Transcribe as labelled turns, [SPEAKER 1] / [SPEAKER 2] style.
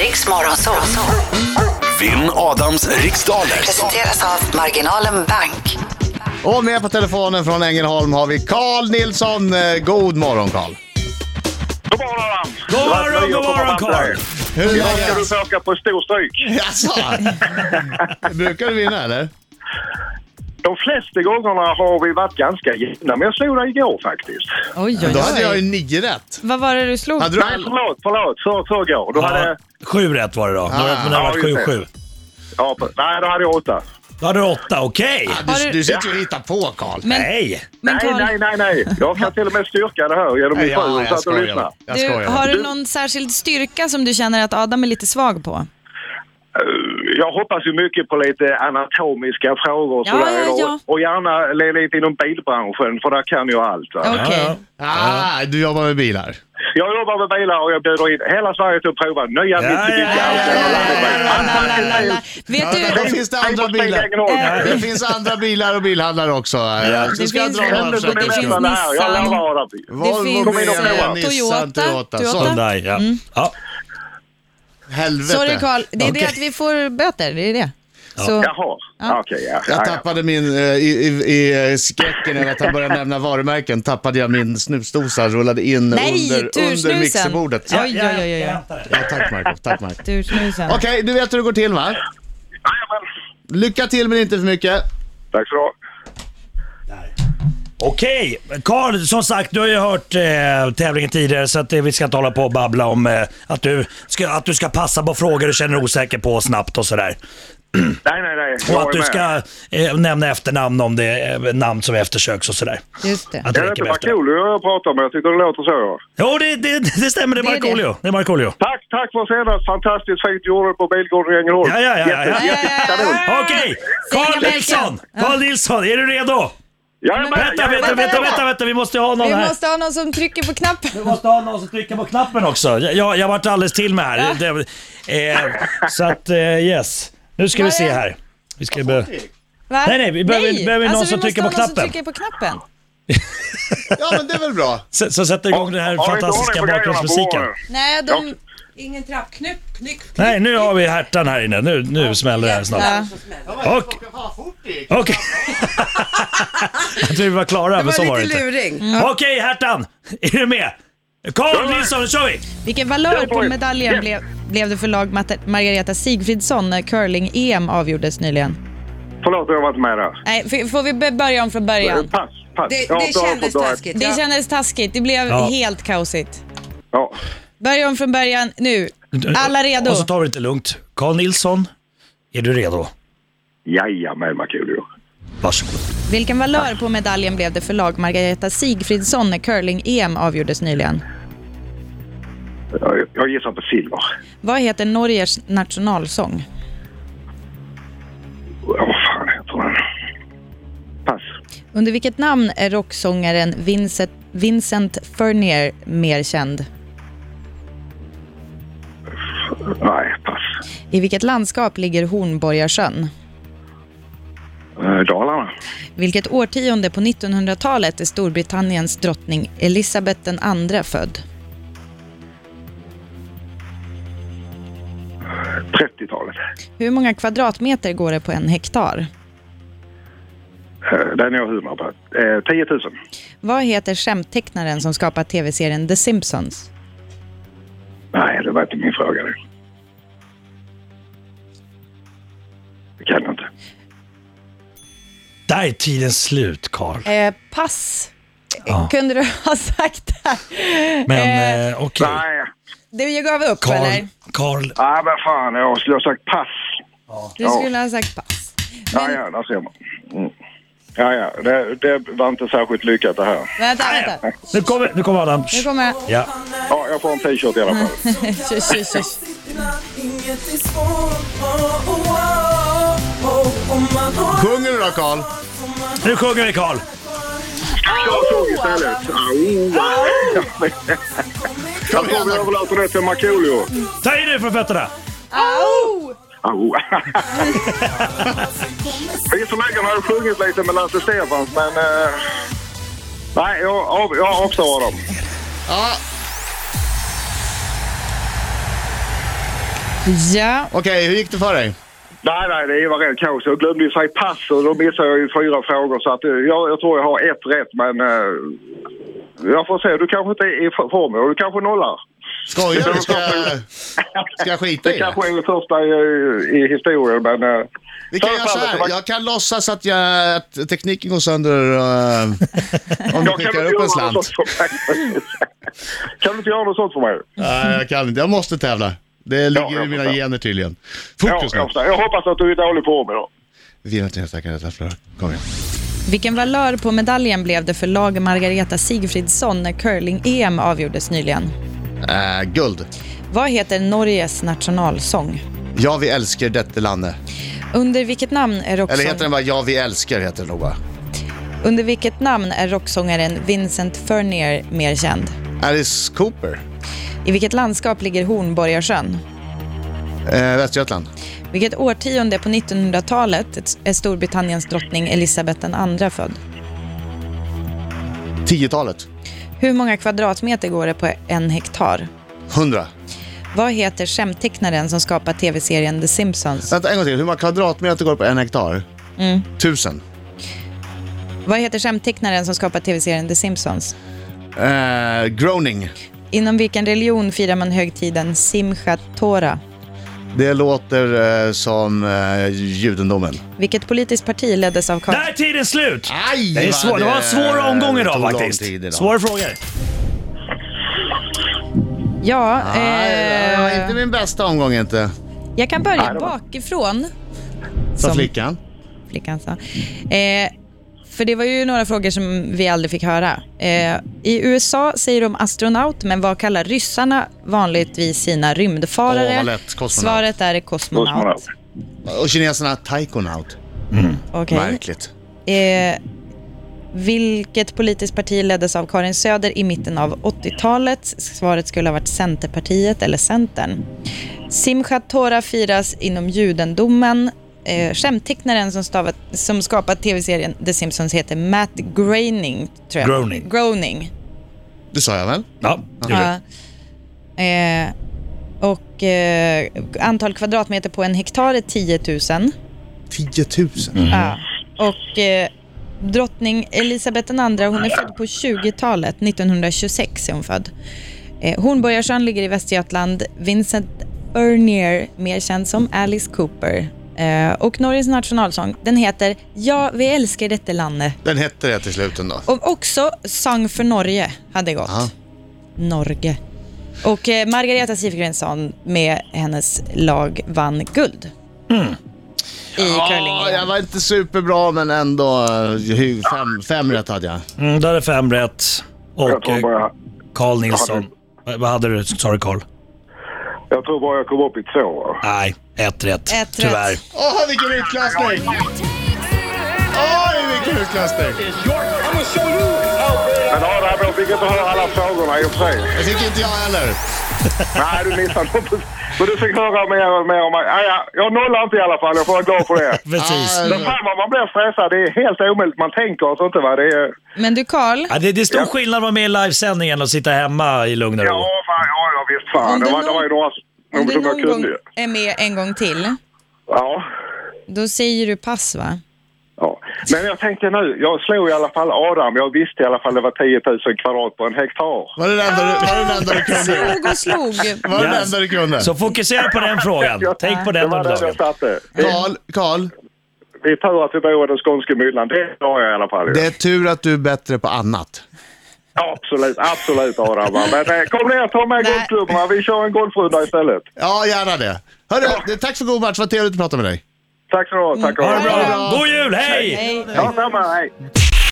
[SPEAKER 1] Riks Morgonzoo.
[SPEAKER 2] Vinn Adams riksdaler.
[SPEAKER 1] Presenteras av Marginalen Bank.
[SPEAKER 3] Och med på telefonen från Ängelholm har vi Carl Nilsson. Eh, God morgon Carl.
[SPEAKER 4] God morgon!
[SPEAKER 5] God
[SPEAKER 4] Det var ett
[SPEAKER 5] morgon,
[SPEAKER 4] nöje
[SPEAKER 5] god
[SPEAKER 4] att få vara
[SPEAKER 5] morgon
[SPEAKER 4] med
[SPEAKER 5] Carl!
[SPEAKER 4] dig.
[SPEAKER 3] Hur
[SPEAKER 4] Idag ska du
[SPEAKER 3] läget?
[SPEAKER 4] få åka på stor stryk.
[SPEAKER 3] Jaså? Brukar du vinna eller?
[SPEAKER 4] De flesta gångerna har vi varit ganska jämna, men jag slog dig igår faktiskt.
[SPEAKER 6] Oj, oj,
[SPEAKER 3] Då hade jag ju
[SPEAKER 6] oj.
[SPEAKER 3] nio rätt.
[SPEAKER 6] Vad var det du slog?
[SPEAKER 3] Hade du
[SPEAKER 4] Nej, förlåt, förlåt. För, förrgår. Då hade...
[SPEAKER 5] Ja, sju rätt var det då. Ah, men det
[SPEAKER 4] ja,
[SPEAKER 5] har varit
[SPEAKER 4] just det.
[SPEAKER 5] 7-7.
[SPEAKER 4] Ja, på- nej, då hade jag åtta.
[SPEAKER 5] Då hade du åtta, okej?
[SPEAKER 3] Ah,
[SPEAKER 6] Har
[SPEAKER 3] du,
[SPEAKER 6] du-
[SPEAKER 3] du sitter ju och hittar på Carl.
[SPEAKER 6] Men,
[SPEAKER 5] Nej!
[SPEAKER 6] men
[SPEAKER 4] nej, nej,
[SPEAKER 6] Carl,
[SPEAKER 4] nej, nej. Jag kan till och med styrka det här genom min fru som satt och lyssnade.
[SPEAKER 3] Jag
[SPEAKER 6] du,
[SPEAKER 3] skojar.
[SPEAKER 6] har du någon särskild styrka som du känner att Adam är lite svag på?
[SPEAKER 4] Eh, Jag hoppas ju mycket på lite anatomiska frågor och
[SPEAKER 6] Ja,
[SPEAKER 4] sådär.
[SPEAKER 6] ja, ja.
[SPEAKER 4] Och, och gärna lite inom bilbranschen, för där kan jag allt. Va?
[SPEAKER 6] Okej.
[SPEAKER 5] Ja,
[SPEAKER 3] Ah, du jobbar med bilar.
[SPEAKER 4] Jag jobbar med bilar och jag bjuder in hela Sverige till att prova nya Mitsubishi
[SPEAKER 5] ja,
[SPEAKER 4] Outlander
[SPEAKER 5] ja,
[SPEAKER 4] och
[SPEAKER 5] ja,
[SPEAKER 4] Landebil.
[SPEAKER 5] ja,
[SPEAKER 4] Allt man kan till.
[SPEAKER 6] Vet
[SPEAKER 3] Ja, då
[SPEAKER 6] du,
[SPEAKER 3] finns det andra bilar. Det finns andra bilar och bilhandlare också. Ja,
[SPEAKER 6] Det
[SPEAKER 3] ska jag
[SPEAKER 6] finns-
[SPEAKER 3] dra några för
[SPEAKER 6] Det
[SPEAKER 3] säkerhets
[SPEAKER 6] finns
[SPEAKER 3] skull.
[SPEAKER 6] Nissan.
[SPEAKER 4] Jag lovar Arabi.
[SPEAKER 3] Volvo,
[SPEAKER 6] finns,
[SPEAKER 3] Bea, Nissan,
[SPEAKER 4] eh,
[SPEAKER 6] Toyota,
[SPEAKER 3] Toyota.
[SPEAKER 6] Toyota.
[SPEAKER 3] Så,
[SPEAKER 5] Hyundai, ja.
[SPEAKER 6] Mm.
[SPEAKER 5] ja.
[SPEAKER 3] helvete.
[SPEAKER 6] sorry Carl, det är
[SPEAKER 5] Okej.
[SPEAKER 6] det att vi får böter, det är det. Så,
[SPEAKER 4] Jaha,
[SPEAKER 6] Ja.
[SPEAKER 4] okej. ja, ja,
[SPEAKER 3] Jag
[SPEAKER 4] ja.
[SPEAKER 3] tappade min, eh, i, i, i skräcken över att han började nämna varumärken, tappade jag min snusdosa, rullade in
[SPEAKER 6] Nej,
[SPEAKER 3] under, under
[SPEAKER 6] tursnusen.
[SPEAKER 3] mixerbordet.
[SPEAKER 6] Oj, oj, oj, oj, oj.
[SPEAKER 3] Ja, tack Marco, tack Marco.
[SPEAKER 6] Du, snusen.
[SPEAKER 3] Okej, du vet hur det går till va?
[SPEAKER 4] Jajamän.
[SPEAKER 3] Lycka till men inte för mycket.
[SPEAKER 4] Tack så du ha.
[SPEAKER 5] Okej, Carl, som sagt, du har ju hört eh, tävlingen tidigare så att, eh, vi ska inte hålla på och babbla om eh, att, du ska, att du ska passa på frågor du känner osäker på snabbt och sådär.
[SPEAKER 4] Nej, nej, nej.
[SPEAKER 5] Och
[SPEAKER 4] jag
[SPEAKER 5] att
[SPEAKER 4] är
[SPEAKER 5] du
[SPEAKER 4] med.
[SPEAKER 5] ska eh, nämna efternamn om det är eh, namn som eftersöks och sådär.
[SPEAKER 6] Just det.
[SPEAKER 5] Att
[SPEAKER 4] Jag vet
[SPEAKER 5] räcker
[SPEAKER 4] inte
[SPEAKER 5] med
[SPEAKER 4] vad
[SPEAKER 5] efternamn.
[SPEAKER 4] kul jag pratar med. Jag tycker det låter så. ja.
[SPEAKER 5] Jo, det, det, det stämmer. Det är
[SPEAKER 6] Det är
[SPEAKER 5] Markoolio. Det är Markoolio.
[SPEAKER 4] Tack, tack för senast. Fantastiskt fint du gjorde det på Bilgården i Ängelholm.
[SPEAKER 5] Ja, ja, ja, ja.
[SPEAKER 4] Jätte, jätte, kanon.
[SPEAKER 5] Okej, Carl
[SPEAKER 6] Segerbälken.
[SPEAKER 5] Nilsson! Carl Nilsson, är du redo?
[SPEAKER 4] Jag är med.
[SPEAKER 5] Vänta,
[SPEAKER 4] jag är
[SPEAKER 5] vänta,
[SPEAKER 4] med.
[SPEAKER 5] vänta, vänta, vänta. vi måste ha någon
[SPEAKER 6] Vi
[SPEAKER 5] här.
[SPEAKER 6] måste ha någon som trycker på knappen.
[SPEAKER 5] Vi måste ha någon som trycker på knappen också. Jag, jag vart alldeles till med här. Det, eh, så att, eh, yes. Nu ska vi se här. Vi ska börja.
[SPEAKER 6] Va? Alltså,
[SPEAKER 5] Nej, nej, vi behöver- behöver någon som
[SPEAKER 6] vi måste
[SPEAKER 5] trycker
[SPEAKER 6] ha
[SPEAKER 5] på
[SPEAKER 6] någon som
[SPEAKER 5] knappen.
[SPEAKER 6] trycker på knappen.
[SPEAKER 3] Ja men det är väl bra.
[SPEAKER 5] Så, så sätter igång den
[SPEAKER 4] Har
[SPEAKER 5] här
[SPEAKER 4] ni inte
[SPEAKER 5] fantastiska
[SPEAKER 4] ordning på grejerna på
[SPEAKER 5] bakgrundsmusiken.
[SPEAKER 4] morgonen?
[SPEAKER 6] Nej, de...
[SPEAKER 7] Ingen trappknupp, knyck, knyck.
[SPEAKER 5] Nej, nu har vi härtan här inne. Nu, nu smäller det här snart.
[SPEAKER 6] Ja.
[SPEAKER 5] Och- Okej. Jag tror vi var klara, men så var det
[SPEAKER 7] lite
[SPEAKER 5] inte.
[SPEAKER 7] luring.
[SPEAKER 5] Okej, härtan. Är du med? Carl Nilsson, nu kör vi!
[SPEAKER 6] Vilken valör
[SPEAKER 4] Jag får
[SPEAKER 6] på
[SPEAKER 4] in.
[SPEAKER 6] medaljen
[SPEAKER 4] Yes.
[SPEAKER 6] blev, blev det för lag Mate- Margareta Sigfridsson när curling-EM avgjordes nyligen?
[SPEAKER 4] Förlåt, jag var inte med där. Eh,
[SPEAKER 6] Nej, f- får vi b- börja om från början?
[SPEAKER 4] Pass, pass.
[SPEAKER 7] Det,
[SPEAKER 4] Jag har
[SPEAKER 7] det
[SPEAKER 4] inte hört på
[SPEAKER 7] kändes
[SPEAKER 4] dagen.
[SPEAKER 7] taskigt.
[SPEAKER 6] Det
[SPEAKER 7] Ja.
[SPEAKER 6] kändes taskigt, det blev
[SPEAKER 5] Ja.
[SPEAKER 6] helt kaosigt.
[SPEAKER 4] Ja.
[SPEAKER 6] Börja om från början nu. Alla redo?
[SPEAKER 5] Och så tar vi det lite lugnt. Carl Nilsson, är du redo?
[SPEAKER 4] Jajamän, Markoolio.
[SPEAKER 5] Varsågod.
[SPEAKER 6] Vilken valör på medaljen blev det för lag Margareta Sigfridsson när curling-EM avgjordes nyligen?
[SPEAKER 4] Jag- Jag gissar på silver.
[SPEAKER 6] Vad heter Norges nationalsång?
[SPEAKER 4] Åh, Vad fan heter den? Pass.
[SPEAKER 6] Under vilket namn är rocksångaren Vincent, Vincent Fernier mer känd?
[SPEAKER 4] Nej, pass.
[SPEAKER 6] I vilket landskap ligger Hornborgasjön?
[SPEAKER 4] Eh, Dalarna.
[SPEAKER 6] Vilket årtionde på 1900-talet är Storbritanniens drottning Elisabeth II född?
[SPEAKER 4] 30-talet.
[SPEAKER 6] Hur många kvadratmeter går det på en hektar?
[SPEAKER 4] Eh, Den är jag humor på. Eh, 10 000.
[SPEAKER 6] Vad heter skämttecknaren som skapat tv-serien The Simpsons?
[SPEAKER 4] Nej, det var inte min fråga. Det, det kan jag inte.
[SPEAKER 5] Där är tiden slut, Carl.
[SPEAKER 6] Eh, pass.
[SPEAKER 5] Ja.
[SPEAKER 6] Kunde du ha sagt där?
[SPEAKER 5] Men eh, okej.
[SPEAKER 4] Nej,
[SPEAKER 6] Du jag gav upp
[SPEAKER 5] Carl,
[SPEAKER 6] eller?
[SPEAKER 5] Carl,
[SPEAKER 4] nej men fan. Jag skulle ha sagt pass.
[SPEAKER 6] Du skulle ha sagt pass.
[SPEAKER 4] Ja,
[SPEAKER 6] Men
[SPEAKER 4] ja, där ser man. Mm. Ja, ja, det, det var inte särskilt lyckat det här.
[SPEAKER 6] vänta, vänta.
[SPEAKER 5] nu kommer, nu kommer Adam.
[SPEAKER 6] Nu kommer jag.
[SPEAKER 5] Ja.
[SPEAKER 4] Ja, jag får en t-shirt i alla fall.
[SPEAKER 6] Tjus, tjus, tjus.
[SPEAKER 8] Inget är svårt oh, oh, oh, oh, om man har
[SPEAKER 3] Sjunger du då Carl?
[SPEAKER 5] Nu sjunger vi, Carl.
[SPEAKER 4] Jag såg istället. Au! Jag tror vi överlåter det till Markoolio.
[SPEAKER 5] Ta i nu från fötterna.
[SPEAKER 4] Au! Visserligen har jag sjungit lite med Lasse Stefans men... Eh, nej, jag, av, jag avstår dem.
[SPEAKER 3] Ja.
[SPEAKER 6] Ja,
[SPEAKER 3] Okej, hur gick det för dig?
[SPEAKER 4] Nej, nej, det var rent kaos. Jag glömde ju säga pass och då missade jag ju fyra frågor. Så att, eh, jag, jag tror jag har ett rätt, men eh, jag får se. Du kanske inte är i form och du kanske nollar.
[SPEAKER 3] Skojar du? Ska, jag- ska jag skita
[SPEAKER 4] Det
[SPEAKER 3] i det?
[SPEAKER 4] kanske är det första i, i historien, men... eh,
[SPEAKER 3] Vi kan
[SPEAKER 4] i alla
[SPEAKER 3] göra
[SPEAKER 4] fall,
[SPEAKER 3] så
[SPEAKER 4] det
[SPEAKER 3] här.
[SPEAKER 4] var-
[SPEAKER 3] Jag kan låtsas att, jag, att tekniken går sönder eh, om du
[SPEAKER 4] jag
[SPEAKER 3] skickar
[SPEAKER 4] kan inte
[SPEAKER 3] upp en
[SPEAKER 4] göra något
[SPEAKER 3] slant.
[SPEAKER 4] sånt för mig. Kan du inte göra något sånt för mig?
[SPEAKER 3] Nej, jag kan inte. Jag måste tävla. Det ligger
[SPEAKER 4] jag
[SPEAKER 3] i mina
[SPEAKER 4] förstår.
[SPEAKER 3] gener tydligen.
[SPEAKER 4] Ja,
[SPEAKER 3] Fokus
[SPEAKER 4] jag,
[SPEAKER 3] nu.
[SPEAKER 4] förstår. jag hoppas att du är i dålig form idag.
[SPEAKER 3] Vi är inte helt säkra detta flöde. Kom igen.
[SPEAKER 6] vilken valör på medaljen blev det för lag Margareta Sigfridsson när curling-EM avgjordes nyligen?
[SPEAKER 3] Eh, guld.
[SPEAKER 6] Vad heter Norges nationalsång?
[SPEAKER 3] Ja, vi älskar detta landet.
[SPEAKER 6] Under vilket namn är
[SPEAKER 3] Eller heter
[SPEAKER 6] rocksång...
[SPEAKER 3] den bara Ja, vi älskar heter den nog bara.
[SPEAKER 6] Under vilket namn är rocksångaren Vincent Furnier mer känd?
[SPEAKER 3] Alice Cooper.
[SPEAKER 6] I vilket landskap ligger Hornborgasjön?
[SPEAKER 3] Eh, Västergötland.
[SPEAKER 6] Vilket årtionde på 1900-talet är Storbritanniens drottning Elisabeth II född?
[SPEAKER 3] 10-talet.
[SPEAKER 6] Hur många kvadratmeter går det på en hektar?
[SPEAKER 3] 100.
[SPEAKER 6] Vad heter skämttecknaren som skapar tv-serien The Simpsons?
[SPEAKER 3] Vänta en gång till. Hur många kvadratmeter går det på en hektar? Tusen.
[SPEAKER 6] Vad heter skämttecknaren som skapar tv-serien The Simpsons?
[SPEAKER 3] Eh, groaning.
[SPEAKER 6] Inom vilken religion firar man högtiden Simchat Torah?
[SPEAKER 3] Det låter eh, som eh, judendomen.
[SPEAKER 6] Vilket politiskt parti leddes av Karl...
[SPEAKER 5] Där är tiden slut!
[SPEAKER 3] Aj,
[SPEAKER 5] det, är
[SPEAKER 3] vad
[SPEAKER 5] svår, det var en svår omgång idag
[SPEAKER 3] tog lång
[SPEAKER 5] faktiskt.
[SPEAKER 3] tid idag.
[SPEAKER 5] Svåra frågor.
[SPEAKER 6] Ja,
[SPEAKER 3] Nej, det var inte
[SPEAKER 6] eh,
[SPEAKER 3] min bästa omgång inte.
[SPEAKER 6] jag kan börja bakifrån.
[SPEAKER 3] Sa
[SPEAKER 6] Som-
[SPEAKER 3] flickan.
[SPEAKER 6] flickan sa. Eh, för det var ju några frågor som vi aldrig fick höra. Eh, I USA säger de astronaut, men vad kallar ryssarna vanligtvis sina
[SPEAKER 3] Åh,
[SPEAKER 6] rymdfarare?
[SPEAKER 3] vad lätt. Kosmonaut.
[SPEAKER 6] Svaret är kosmonaut.
[SPEAKER 4] Kosmonaut.
[SPEAKER 3] Och kineserna, taikonaut.
[SPEAKER 6] Okej.
[SPEAKER 3] Märkligt.
[SPEAKER 6] Eh, vilket politiskt parti leddes av Karin Söder i mitten av 80-talet? Svaret skulle ha varit Centerpartiet eller Centern. Simchat Torah firas inom judendomen. Eh, skämttecknaren som, stavat, som skapat tv-serien The Simpsons heter Matt Groening. Tror jag.
[SPEAKER 5] Groening.
[SPEAKER 6] Groening.
[SPEAKER 3] Det sa jag väl?
[SPEAKER 5] Ja, det gjorde du.
[SPEAKER 6] Ja. Eh, och eh, antal kvadratmeter på en hektar är 10 000.
[SPEAKER 3] 10 000.
[SPEAKER 5] Mm.
[SPEAKER 6] Ja. Och eh, drottning Elisabeth II, hon är född på 20-talet. 1926 är hon född. Eh, Hornborgasjön ligger i Västergötland. Vincent Bernier, mer känd som Alice Cooper. Eh, och Norges nationalsång, den heter Ja, vi älskar detta landet.
[SPEAKER 3] Den hette det till slut ändå.
[SPEAKER 6] Och också Sang för Norge hade gått.
[SPEAKER 3] Ja.
[SPEAKER 6] Norge. Och eh, Margareta Sifgrenson med hennes lag vann guld. I
[SPEAKER 3] Mm. Ja,
[SPEAKER 6] curling.
[SPEAKER 3] jag var inte superbra men ändå eh, hy- fem, fem rätt hade jag.
[SPEAKER 5] Mm, där är fem rätt.
[SPEAKER 4] Jag
[SPEAKER 5] Och
[SPEAKER 4] tror,
[SPEAKER 5] eh,
[SPEAKER 4] bara,
[SPEAKER 5] Carl Nilsson. Vad vad hade du? Sa du Carl?
[SPEAKER 4] jag tror bara jag kom upp i två. va?
[SPEAKER 5] Nej, ett rätt.
[SPEAKER 6] Ett rätt.
[SPEAKER 5] Tyvärr.
[SPEAKER 3] Åh, vilken utklassning! Oj, vilken utklassning!
[SPEAKER 4] Men Adam, jag fick inte höra alla frågorna i och för sig.
[SPEAKER 3] Det fick inte jag heller.
[SPEAKER 4] Nej, du missade något. Men du fick höra mer och mer om mig. Ah, ja, jag nollar inte i alla fall, jag får vara glad för det.
[SPEAKER 5] Precis.
[SPEAKER 3] Ah,
[SPEAKER 4] Men fan vad man blir stressad, det är helt omöjligt. Man tänker alltså inte va. Det är,
[SPEAKER 6] Men du Karl,
[SPEAKER 5] Ja, det, det är stor skillnad att vara med i livesändningen och sitta hemma i lugn och ro.
[SPEAKER 4] ja, fan, ja, ja visst
[SPEAKER 6] Om
[SPEAKER 4] fan.
[SPEAKER 6] du
[SPEAKER 4] Det var, det var ju
[SPEAKER 6] någon-
[SPEAKER 4] några som
[SPEAKER 6] Om du
[SPEAKER 4] som jag
[SPEAKER 6] någon gång
[SPEAKER 4] kunde ju.
[SPEAKER 6] är med en gång till,
[SPEAKER 4] Ja.
[SPEAKER 6] då säger du pass va?
[SPEAKER 4] Ja. Men jag tänkte nu, jag slog i alla fall Adam. Jag visste i alla fall det var 10 000 kvadrat på en hektar.
[SPEAKER 3] Var det den enda du, var det den enda du kunde?
[SPEAKER 6] Slog och slog.
[SPEAKER 3] Var det den
[SPEAKER 5] Yes.
[SPEAKER 3] enda du kunde?
[SPEAKER 5] Så fokusera på den frågan. Tänk på
[SPEAKER 4] Det
[SPEAKER 5] den
[SPEAKER 4] var
[SPEAKER 5] under
[SPEAKER 4] där jag
[SPEAKER 5] dagen.
[SPEAKER 4] satte. Det-
[SPEAKER 3] Karl, Karl,
[SPEAKER 4] Det är tur att vi bor i den skånska myllan. Det har jag i alla fall. ju.
[SPEAKER 3] det är tur att du är bättre på annat.
[SPEAKER 4] Absolut, absolut Adam. va. Men eh, kom ner, ta med
[SPEAKER 6] Nej.
[SPEAKER 4] golfklubborna. Vi kör en golfrunda istället.
[SPEAKER 3] Ja, gärna det. Hörru, tack för god match. Vad trevligt att prata med dig.
[SPEAKER 4] Tack så du ha. Tack och
[SPEAKER 5] Mm. Ha det
[SPEAKER 4] hej.
[SPEAKER 5] bra. God jul, hej!
[SPEAKER 4] Ja, samma. Hej.